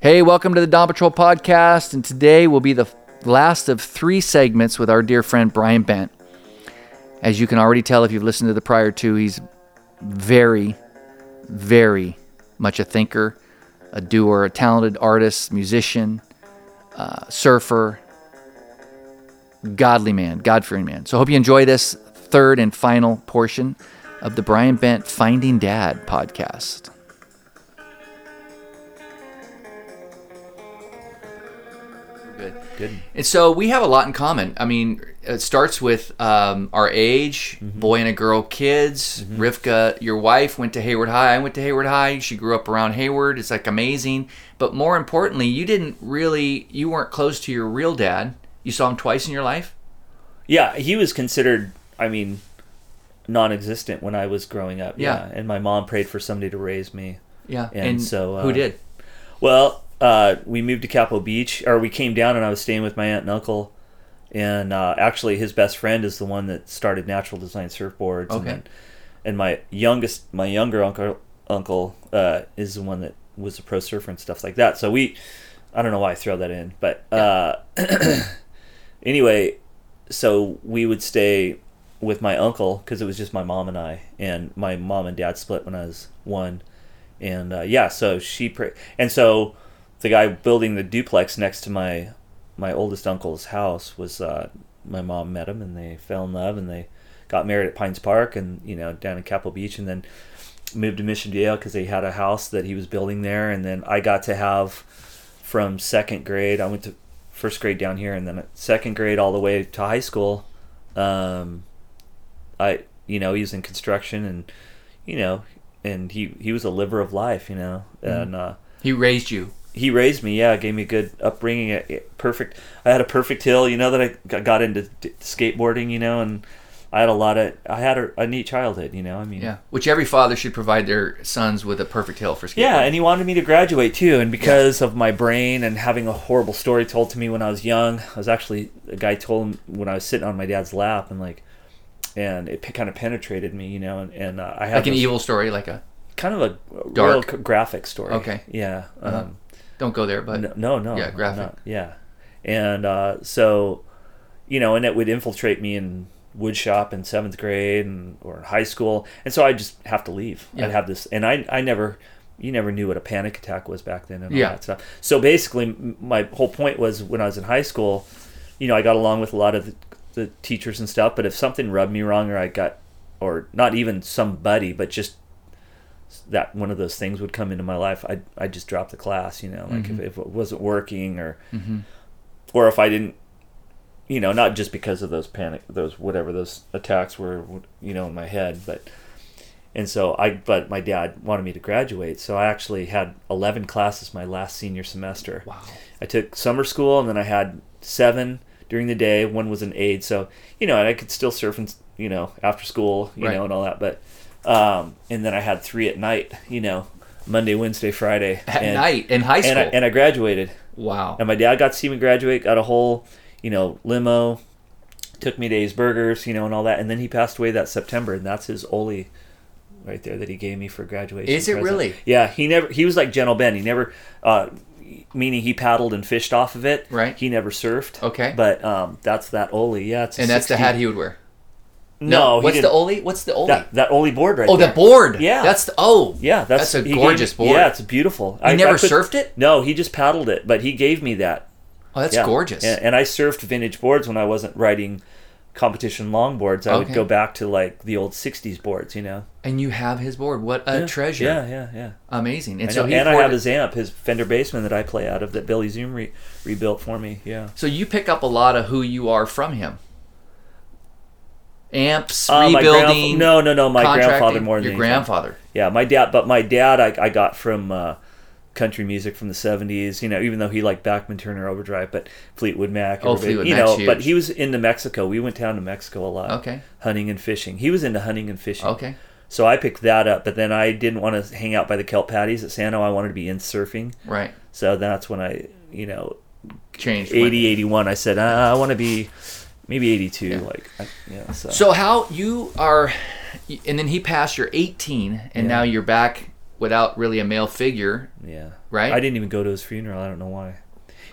Hey, welcome to the Dawn Patrol podcast. And today will be the last of three segments with our dear friend Brian Bent. As you can already tell if you've listened to the prior two, he's very, very much a thinker, a doer, a talented artist, musician, uh, surfer, godly man, God fearing man. So, hope you enjoy this third and final portion of the Brian Bent Finding Dad podcast. Good. Good. And so we have a lot in common. I mean, it starts with um, our age, Mm-hmm. boy and a girl, kids. Rivka, your wife, went to Hayward High. I went to Hayward High. She grew up around Hayward. It's like amazing. But more importantly, you didn't really, you weren't close to your real dad. You saw him twice in your life. Yeah, he was considered, I mean, non existent when I was growing up. Yeah. And my mom prayed for somebody to raise me. Yeah. And so, uh, who did? Well, uh, we moved to Capitol Beach, or we came down and I was staying with my aunt and uncle. And uh, actually, his best friend is the one that started Natural Design Surfboards. Okay. And, then- and my youngest, my younger uncle, uncle uh, is the one that was a pro surfer and stuff like that. So we, I don't know why I throw that in, but uh, anyway, so we would stay with my uncle because it was just my mom and I, and my mom and dad split when I was one, and uh, yeah, so she pra- and so the guy building the duplex next to my my oldest uncle's house was uh, my mom met him and they fell in love and they got married at Pines Park and you know down in Capitol Beach and then moved to Mission Dale because they had a house that he was building there and then I got to have from second grade. I went to first grade down here, and then second grade all the way to high school. Um, I, you know, he was in construction, and you know, and he he was a liver of life, you know, Mm-hmm. and uh, He raised you. he raised me. Yeah, gave me a good upbringing. a- a Perfect. I had a perfect hill, you know, that I g- got into d- skateboarding, you know, and I had a lot of. I had a, a neat childhood, you know. I mean, Yeah. Which every father should provide their sons with a perfect hill for skating. Yeah, and he wanted me to graduate too. And because of my brain and having a horrible story told to me when I was young, I was actually a guy told him when I was sitting on my dad's lap and like, and it kind of penetrated me, you know. And, and uh, I had like an this evil story, like a kind of a real Dark. c- graphic story. Okay. Uh-huh. Yeah. Um, don't go there, but no, no, no. Yeah, I'm graphic. not. yeah, and uh, so, you know, and it would infiltrate me in wood shop in seventh grade and or in high school, and so I just have to leave. Yeah. I'd have this, and I I never. You never knew what a panic attack was back then and all Yeah. that stuff. So basically, m- my whole point was when I was in high school, you know, I got along with a lot of the, the teachers and stuff. But if something rubbed me wrong, or I got, or not even somebody, but just that one of those things would come into my life, I'd, I'd just drop the class, you know, like if, if it wasn't working or, or if I didn't, you know, not just because of those panic, those, whatever those attacks were, you know, in my head, but, and so I, but my dad wanted me to graduate. So I actually had 11 classes my last senior semester. wow. I took summer school and then I had seven during the day. One was an aide, so you know, and I could still surf and you know after school, you Right. know, and all that. But um, and then I had three at night, you know, Monday, Wednesday, Friday At and, night in high school. And I, and I graduated, wow. and my dad got to see me graduate, got a whole you know limo, took me to A's Burgers, you know, and all that. And then he passed away that September, and that's his only. Right there, that he gave me for graduation. Is it really? Yeah, he never. He was like Gentle Ben. He never, uh, meaning he paddled and fished off of it. Right. He never surfed. Okay. But um, that's that Oli. Yeah. It's a and that's the 60 hat he would wear. No, he what's the didn't. Oli? What's the Oli? That, that Oli board right oh, there. the board. Yeah. That's the oh. Yeah, that's, that's a he gave gorgeous me- board. Yeah, it's beautiful. You never surfed it? No, he just paddled it, but he gave me that. Oh, that's Yeah. gorgeous. And, and I surfed vintage boards when I wasn't riding competition longboards. I Okay. would go back to like the old '60s boards, you know. And you have his board. What a treasure. Yeah, yeah, yeah. Amazing. And I so know, he and I poured- have his amp, his Fender Bassman that I play out of that Billy Zoom re- rebuilt for me. Yeah. So you pick up a lot of who you are from him. Amps, Uh, my rebuilding. grandfa- no, no, no. My contracting. grandfather more than your anything. grandfather. Yeah, my dad. But my dad, I, I got from uh, country music from the '70s. You know, even though he liked Backman Turner Overdrive, but Fleetwood Mac. Oh, everybody- Fleetwood you Mac's know, But huge. he was into Mexico. We went down to Mexico a lot. Okay. Hunting and fishing. He was into hunting and fishing. Okay. So I picked that up, but then I didn't want to hang out by the kelp patties at Sano. I wanted to be in surfing. Right. So that's when I, you know, Changed. what- 80, 81, I said, uh, I want to be maybe 82. Like, I, yeah. So. So how you are, and then he passed. You're 18, and now you're back without really a male figure. Yeah. Right? I didn't even go to his funeral. I don't know why.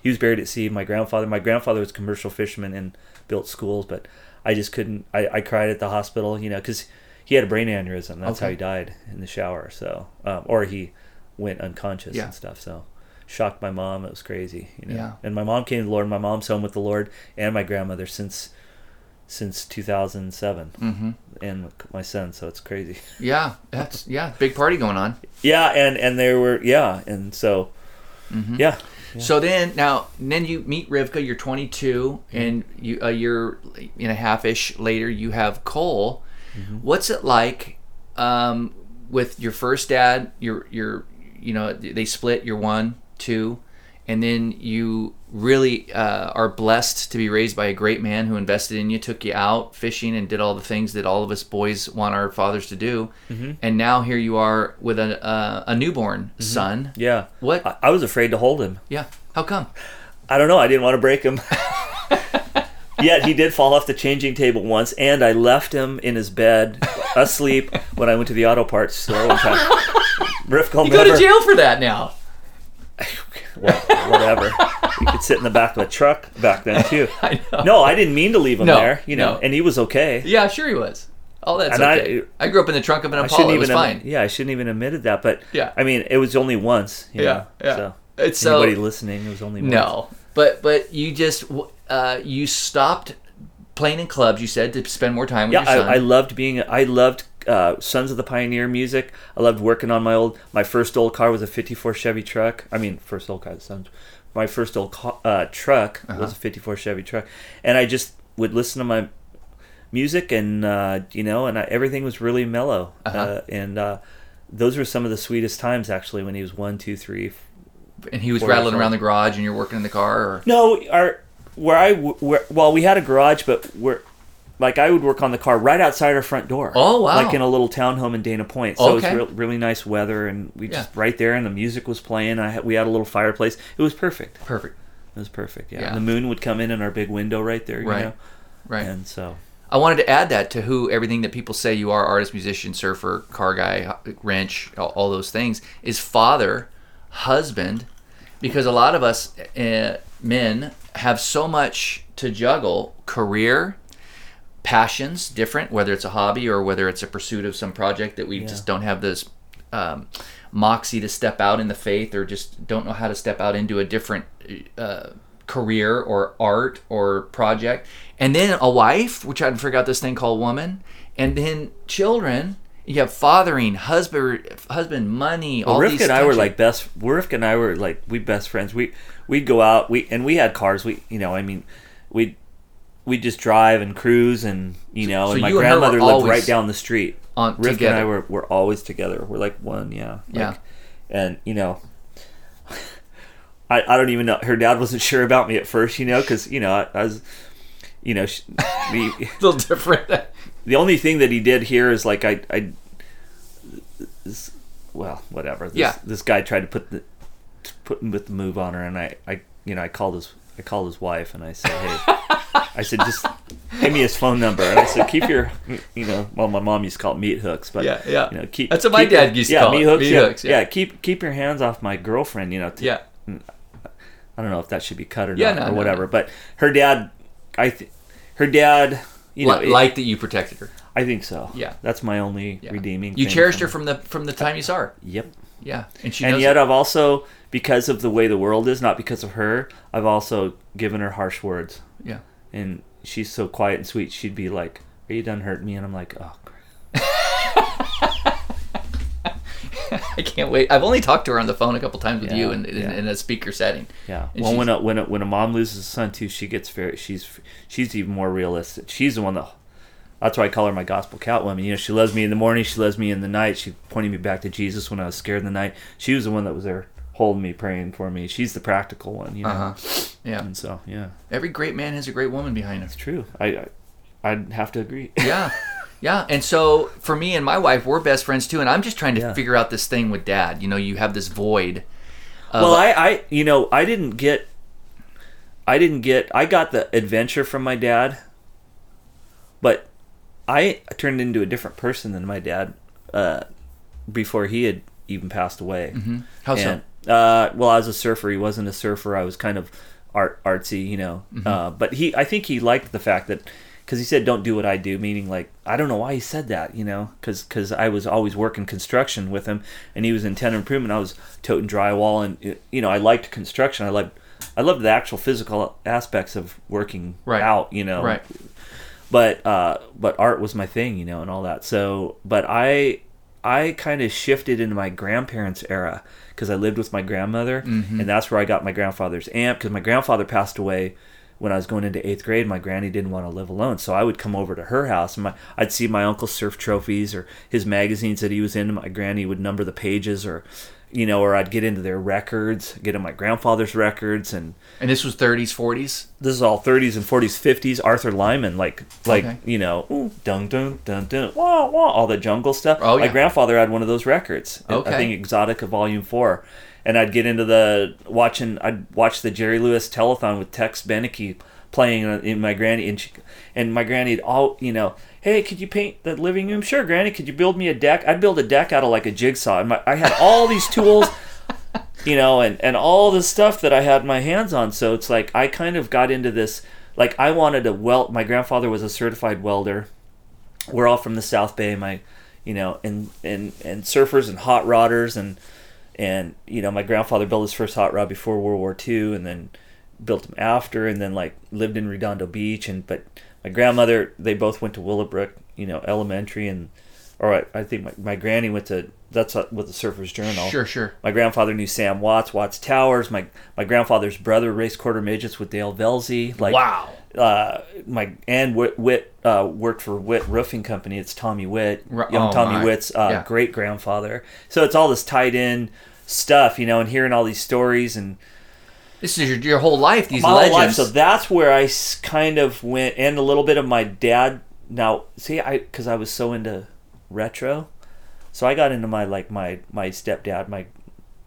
He was buried at sea. My grandfather. My grandfather was a commercial fisherman and built schools, but I just couldn't. I, I cried at the hospital, you know, because he had a brain aneurysm. That's how Okay. he died in the shower. So, um, or he went unconscious Yeah. and stuff. So, shocked my mom. It was crazy. You know? Yeah. And my mom came to the Lord. My mom's home with the Lord and my grandmother since since 2007 Mm-hmm. and my son so it's crazy Yeah, that's yeah, big party going on. yeah and and they were yeah and so Mm-hmm. yeah So then, now then you meet Rivka. You're 22, Mm-hmm. and you a year and a half ish later, you have Cole. Mm-hmm. What's it like um, with your first dad? Your your you know they split. You're one, two, and then you really uh, are blessed to be raised by a great man who invested in you, took you out fishing, and did all the things that all of us boys want our fathers to do. Mm-hmm. And now here you are with a uh, a newborn son. yeah What? I, I was afraid to hold him yeah. How come? I don't know. I didn't want to break him. Yet he did fall off the changing table once, and I left him in his bed asleep when I went to the auto parts store one time. Riff called Go to jail for that now. Well, whatever. He could sit in the back of a truck back then too. I know. No, I didn't mean to leave him No, there. You know, no. and he was okay. Yeah, sure he was. Oh, that's And I- okay. I, grew up in the trunk of an I shouldn't Apollo. It even. was admi- fine. Yeah, I shouldn't even admitted that. But Yeah. I mean, it was only once. you Yeah, know, yeah. So It's so- anybody listening, it was only once. No, but but you just uh, you stopped playing in clubs. You said to spend more time with Yeah, your son. I, I loved being. I loved uh, Sons of the Pioneer music. I loved working on my old. My first old car was a '54 Chevy truck. I mean, first old car. Sons. My first old ca- uh, truck was a '54 Chevy truck, and I just would listen to my music, and uh, you know, and I, everything was really mellow. uh and uh, those were some of the sweetest times, actually, when he was one, two, three, f- and he was Or- rattling around the garage, and you're working in the car. Or, No, our where I w- where well we had a garage, but we're like I would work on the car right outside our front door. Oh, wow. Like in a little townhome in Dana Point. So Okay. it was re- really nice weather, and we Yeah. just right there, and the music was playing. I had, we had a little fireplace. It was perfect. Perfect. It was perfect. Yeah. Yeah. And the moon would come in in our big window right there. You Right. Know? Right. And so I wanted to add that to who everything that people say you are artist, musician, surfer, car guy, wrench, all, all those things is father, husband, because a lot of us uh, men have so much to juggle career, passions, different, whether it's a hobby or whether it's a pursuit of some project that we just don't have this um, moxie to step out in the faith or just don't know how to step out into a different uh, career or art or project. And then a wife, which I forgot this thing called woman, and then children. You have fathering, husband, husband, money. all Rivka these and I were touching- like best. Rivka and I were like we best friends. We we'd go out. We and we had cars. We you know I mean we we just drive and cruise and you know so and my you and her were grandmother lived always right down the street. on- Rivka and I together. were were always together. We're like one yeah like- Yeah. and you know. I, I don't even know. Her dad wasn't sure about me at first, you know, because you know I, I was, you know, she, we, a little different. the only thing that he did here is like I, I this, well, whatever. This, Yeah. this guy tried to put the to put with the move on her, and I, I, you know, I called his, I called his wife, and I said, hey, I said just give me his phone number, and I said keep your, you know, well, my mom used to call it meat hooks, but Yeah, yeah. you know, keep That's what my keep your- dad used to yeah, call meat it, hooks, meat yeah, hooks, yeah. yeah, keep keep your hands off my girlfriend, you know, to, yeah. I don't know if that should be cut or Yeah, not no, or no, whatever, but her dad, I, th- her dad. You know, Li- it- like that you protected her. I think so. Yeah. that's my only Yeah. redeeming. You thing cherished from her from the from the time you saw her. it. Yep. Yeah, and she and knows yet, it. I've also, because of the way the world is, not because of her, I've also given her harsh words. yeah. And she's so quiet and sweet. She'd be like, "Are you done hurting me?" And I'm like, "Oh." crap." I can't wait. I've only talked to her on the phone a couple times with Yeah, you in, in, yeah. in a speaker setting. Yeah. And well, she's- when a, when a, when a mom loses a son too, she gets very she's she's even more realistic. She's the one that that's why I call her my gospel catwoman. You know, she loves me in the morning, she loves me in the night. She pointed me back to Jesus when I was scared in the night. She was the one that was there holding me, praying for me. She's the practical one. You know. Uh-huh. Yeah. And so, yeah, Every great man has a great woman behind him. it's true. I, I I'd have to agree. Yeah. Yeah. And so for me and my wife, we're best friends too. And I'm just trying to Yeah. figure out this thing with dad. You know, you have this void. well, I, I, you know, I didn't get, I didn't get, I got the adventure from my dad, but I turned into a different person than my dad uh, before he had even passed away. How so? And, uh, well, I was a surfer. He wasn't a surfer. I was kind of art artsy, you know. Mm-hmm. Uh, but he, I think he liked the fact that because he said, "Don't do what I do," meaning like I don't know why he said that, you know, because I was always working construction with him, and he was in tenant improvement. I was toting drywall, and you know, I liked construction. I liked. I loved the actual physical aspects of working Right. out, you know, Right. but uh, but art was my thing, you know, and all that. So, but I I kind of shifted into my grandparents' era because I lived with my grandmother, and that's where I got my grandfather's amp because my grandfather passed away when I was going into eighth grade. My granny didn't want to live alone, so I would come over to her house, and my, I'd see my uncle's surf trophies or his magazines that he was in. My granny would number the pages or. You know, or I'd get into their records, get in my grandfather's records, and And this was 30s, 40s. this is all 30s and 40s, 50s. Arthur Lyman, like like Okay. you know, ooh, dun dun dun dun, wah wah, all the jungle stuff. Oh, My yeah. grandfather had one of those records. I- Okay. I think Exotica Volume Four, and I'd get into the watching. I'd watch the Jerry Lewis telethon with Tex Beneke playing uh, in my granny, and she, and my granny'd all you know. Hey, could you paint the living room? Sure, Granny. Could you build me a deck? I'd build a deck out of like a jigsaw. And my, I had all these tools you know, and, and all the stuff that I had my hands on. So it's like I kind of got into this, like I wanted to weld. My grandfather was a certified welder. We're all from the South Bay. My, you know, and and and surfers and hot rodders and and you know, my grandfather built his first hot rod before World War II, and then built them after, and then like lived in Redondo Beach. And but my grandmother, they both went to Willowbrook, you know, elementary and. Or I, I think my, my granny went to that's what the Surfers Journal. Sure, sure. My grandfather knew Sam Watts, Watts Towers. My my grandfather's brother raced quarter midgets with Dale Velzy. Like Wow. uh, my and Whit, Whit uh, worked for Whit Roofing Company. It's Tommy Whit, Ru- young oh, Tommy my. Whit's uh, Yeah. great grandfather. So it's all this tied in stuff, you know, and hearing all these stories and This is your, your whole life, these my legends. whole life. So that's where I s- kind of went, and a little bit of my dad. Now, see, I because I was so into retro, so I got into my like my my stepdad, my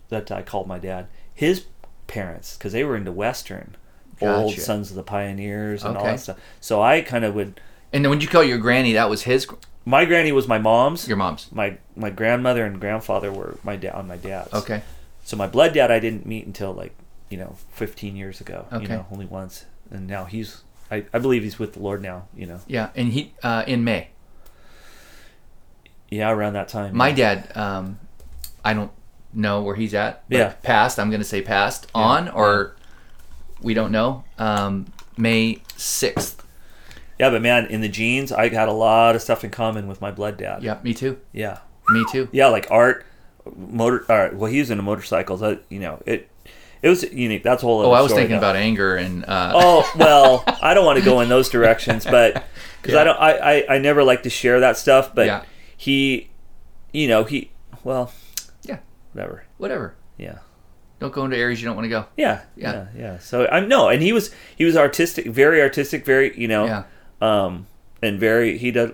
that I called my dad, his parents because they were into western, old Gotcha. Sons of the Pioneers and all Okay. that stuff. So I kind of would. and then when you call your granny, that was his, gr- My granny was my mom's. your mom's. my my grandmother and grandfather were my dad on my dad's. Okay. So my blood dad I didn't meet until like, you know, 15 years ago. Okay. You know, only once. And now he's I, I believe he's with the Lord now, you know. Yeah. And he, uh, in May. Yeah, around that time. My dad, um, I don't know where he's at. but Yeah. Passed. I'm going to say passed on or we don't know. Um, May 6th. Yeah, but man, in the genes, I had a lot of stuff in common with my blood dad. Yeah. Me too. Yeah. Me too. Yeah, like art, motor uh, well, he was into motorcycles. I, you know, it it was unique. That's a whole Oh, I was thinking about anger and, uh, oh well i don't want to go in those directions but because Yeah. i don't I, I i never like to share that stuff but Yeah. he you know he well yeah, whatever whatever. yeah Don't go into areas you don't want to go. yeah Yeah. yeah yeah, so i'm no and he was he was artistic very artistic very you know Yeah. um and very he does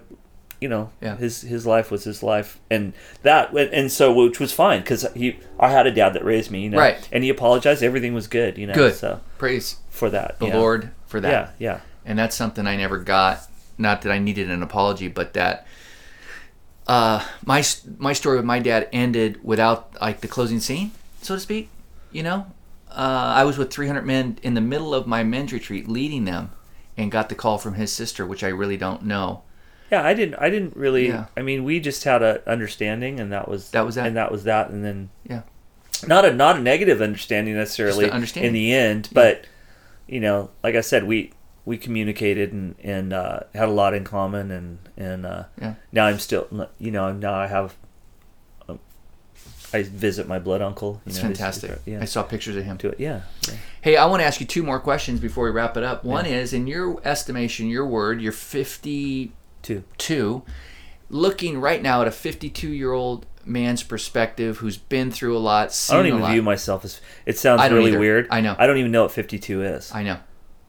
you know Yeah. his his life was his life and that and so which was fine because he i had a dad that raised me you know Right. and he apologized everything was good you know Good. so Praise for that the yeah. Lord for that. yeah yeah and that's something I never got. Not that I needed an apology, but that uh, my s- my story with my dad ended without like the closing scene, so to speak. You know, uh, I was with 300 men in the middle of my men's retreat, leading them, and got the call from his sister, which I really don't know. Yeah, I didn't. I didn't really. Yeah. I mean, we just had a understanding, and that was That was that. and that was that, and then Yeah, not a not a negative understanding necessarily Just an understanding. in the end, but you know, like I said, we we communicated and and uh, had a lot in common, and and uh, Yeah. now I'm still, you know, now I have. um, I visit my blood uncle. You it's know, he's- fantastic. Yeah, I saw pictures of him. to it. Yeah, yeah. Hey, I want to ask you two more questions before we wrap it up. One is, in your estimation, your word, you're 50 too. two, looking right now at a 52 year old man's perspective who's been through a lot, I seen don't even a lot. view myself as. It sounds I don't really either. weird. I know. I don't even know what 52 is. I know.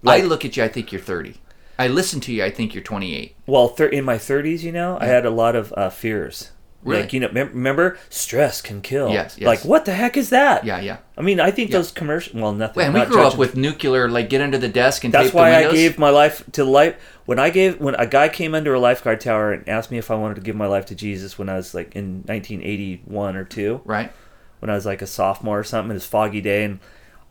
Like- I look at you, I think you're 30. I listen to you, I think you're 28. well, thir- in my 30s, you know, I had a lot of uh, fears. Really? Like you know, mem- remember stress can kill. Yes, yes. Like what the heck is that? Yeah, yeah. I mean, I think those commercial. Well, nothing. And I'm we not grew up judging. with nuclear, like get under the desk and That's tape why the I windows. gave my life to the life. When I gave, when a guy came under a lifeguard tower and asked me if I wanted to give my life to Jesus when I was like in 1981 or two, right. when I was like a sophomore or something. It was a foggy day, and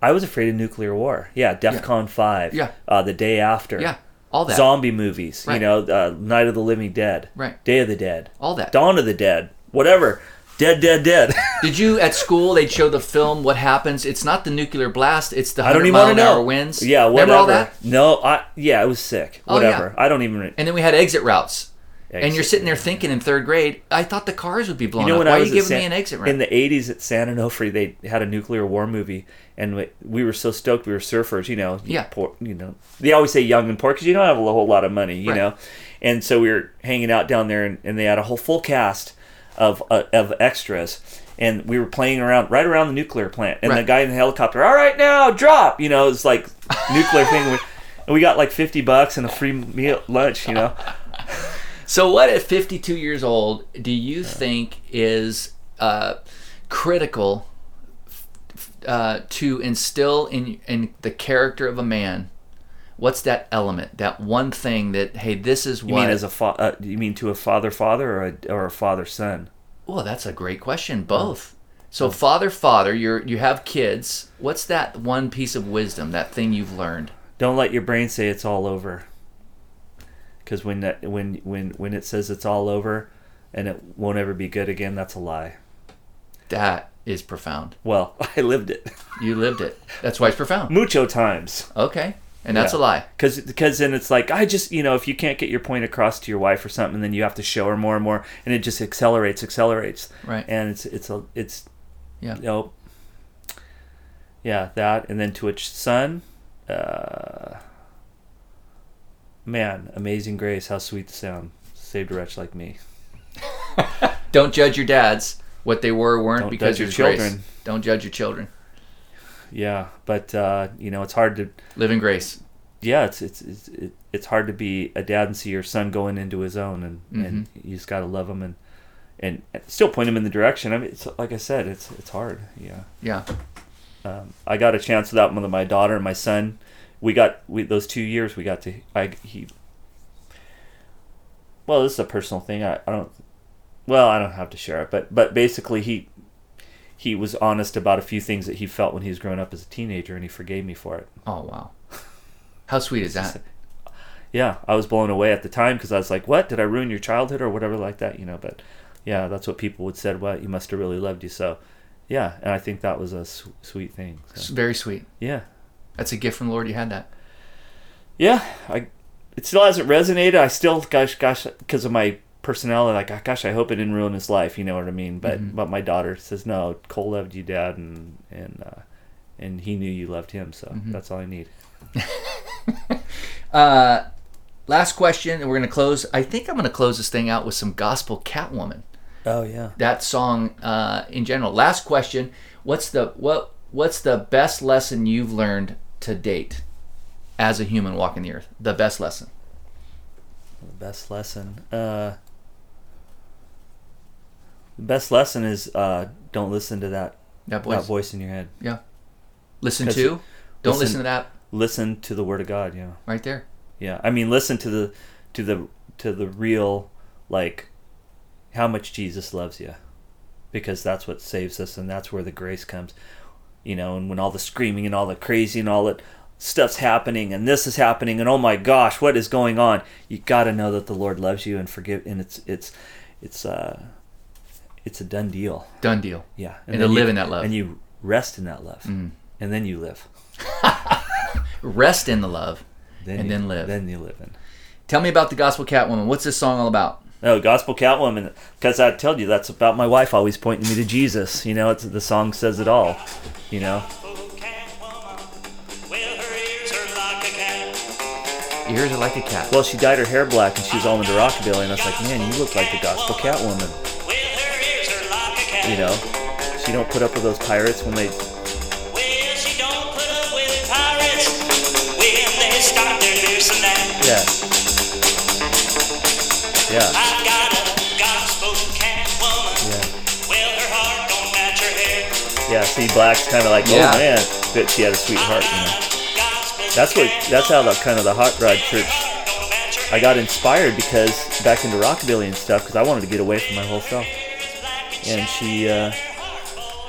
I was afraid of nuclear war. Yeah, DEFCON Five. Yeah. Uh, the day after. Yeah. All that. Zombie movies. Right. You know, uh, Night of the Living Dead. Right. Day of the Dead. All that. Dawn of the Dead. Whatever. Dead, dead, dead. Did you at school? They'd show the film. What happens? It's not the nuclear blast. It's the I don't hundred even mile want to an know. hour winds. Yeah, whatever. Remember all that? No, I yeah, it was sick. Oh, yeah. Whatever. I don't even. And then we had exit routes. and you're Exit, sitting there thinking in third grade, I thought the cars would be blown You know up. when Why I are was you giving at San- me an exit route? in the '80s at San Onofre, they had a nuclear war movie, and we, we were so stoked. We were surfers, you know. you Yeah. Poor, you know, they always say young and poor because you don't have a whole lot of money, you Right. know. And so we were hanging out down there, and, and they had a whole full cast of uh, of extras, and we were playing around right around the nuclear plant, and the Right. guy in the helicopter, all right now, drop, you know, it's like nuclear thing. We, and we got like 50 bucks and a free meal lunch, you know. So, what at 52 years old do you think is uh, critical uh, to instill in in the character of a man? What's that element, that one thing that hey, this is You what? mean as a fa- uh, you mean to a father father or a, or a father son? well, that's a great question. Both. So, father, father, you're you have kids. What's that one piece of wisdom, that thing you've learned? don't let your brain say it's all over because when that when when when it says it's all over and it won't ever be good again that's a lie That is profound. well i lived it You lived it. That's why it's profound. mucho times Okay, and that's Yeah. a lie. because because then it's like i just you know if you can't get your point across to your wife or something then you have to show her more and more and it just accelerates accelerates Right. and it's it's a it's Yeah. you know, yeah that and then to a ch- son uh man amazing grace how sweet the sound saved a wretch like me Don't judge your dads what they were or weren't Don't because judge your of grace. children. Don't judge your children. Yeah, but uh, you know, it's hard to. Live in grace. Yeah, it's it's it's it- it's hard to be a dad and see your son going into his own, and and Mm-hmm. you just got to love him and and still point him in the direction. I mean, it's like I said, it's it's hard. Yeah, Yeah. um, I got a chance with that with my daughter and my son. We got we those two years we got to I he. Well, this is a personal thing. I, I don't. Well, I don't have to share it, but but basically he he was honest about a few things that he felt when he was growing up as a teenager, and he forgave me for it. Oh wow. How sweet is that? yeah, I was blown away at the time because I was like, "What did I ruin your childhood or whatever like that?" You know, but yeah, that's what people would said. Well, you must have really loved you. So, yeah, and I think that was a su- sweet thing. It's So, very sweet. yeah, That's a gift from the Lord. You had that. yeah, I it still hasn't resonated. I still, gosh, gosh, because of my personality, like, "Ah, gosh, I hope it didn't ruin his life. You know what I mean? But but my daughter says, "No, Cole loved you, Dad, and and uh, and he knew you loved him. So that's all I need." Uh, last question, and we're gonna close. I think I'm gonna close this thing out with some gospel Catwoman. Oh yeah. That song uh, in general. Last question. What's the what? What's the best lesson you've learned to date as a human walking the earth? The best lesson. The best lesson. Uh, the best lesson is uh, don't listen to that That that voice. voice in your head. Yeah. Listen 'Cause- to. Don't listen- listen to that Listen to the word of God. Yeah, right there. yeah. I mean, listen to the to the to the real like how much Jesus loves you, because that's what saves us, and that's where the grace comes. You know, and when all the screaming and all the crazy and all that stuff's happening and this is happening and oh my gosh what is going on you got to know that the lord loves you and forgive and it's it's it's uh it's a done deal Done deal. Yeah, And to then live you- in that love. Mm. and you rest in that love, and then you live, Rest in the love. And you- then live. then you live in. Tell me about the Gospel Catwoman. What's this song all about? No, Gospel Catwoman, because I told you that's about my wife always pointing me to Jesus. You know, it's the song says it all. You know, Catwoman. Well, her ears are like a cat. Ears are like a cat. well, she dyed her hair black and she was all into rockabilly, and I was like, man, you look like the Gospel Catwoman. Well, her ears are like a cat. You know, she don't put up with those pirates when they. Well, she don't put up with pirates when they start their beers and that. Yeah. Yeah. I've got a gospel cat. woman. Well, her heart don't match her hair. Yeah, see, Black's kind of like, oh Yeah. man, bet she had a sweetheart. You know? Gospel's That's what. That's how the kind of the hot rod church. heart don't match her I got inspired because back into rockabilly and stuff because I wanted to get away from my whole self. And she uh,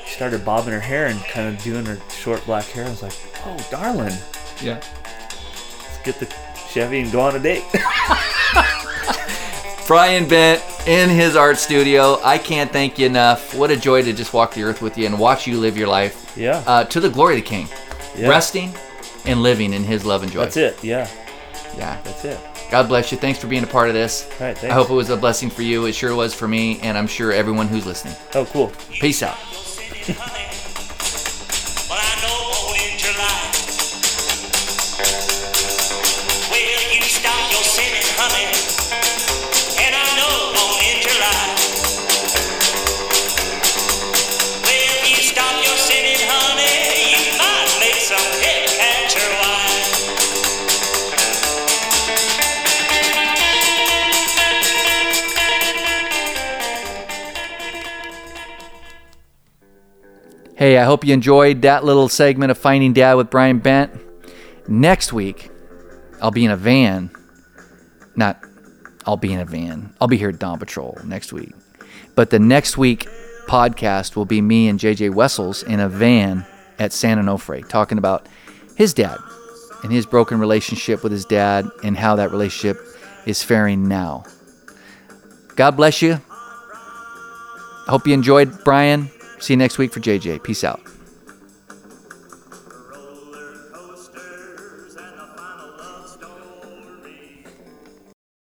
started bobbing her hair and kind of doing her short black hair. I was like, oh darling, Yeah. let's get the Chevy and go on a date. Brian Bent in his art studio. I can't thank you enough. What a joy to just walk the earth with you and watch you live your life yeah, uh, to the glory of the King, yeah. resting and living in His love and joy. That's it. Yeah, Yeah. that's it. God bless you. Thanks for being a part of this. All right, thanks. I hope it was a blessing for you. It sure was for me, and I'm sure everyone who's listening. Oh, cool. Peace out. Your city, honey. Well, I know in July. Well, you stop your sinning, honey. And I know in July. Well, you stop your sinning, honey. You might make some head catcher wise. Hey, I hope you enjoyed that little segment of Finding Dad with Brian Bent. Next week, I'll be in a van. Not, I'll be in a van. I'll be here at Dawn Patrol next week. But the next week podcast will be me and JJ Wessels in a van at San Onofre talking about his dad and his broken relationship with his dad and how that relationship is faring now. God bless you. Hope you enjoyed, Brian. See you next week for JJ. Peace out.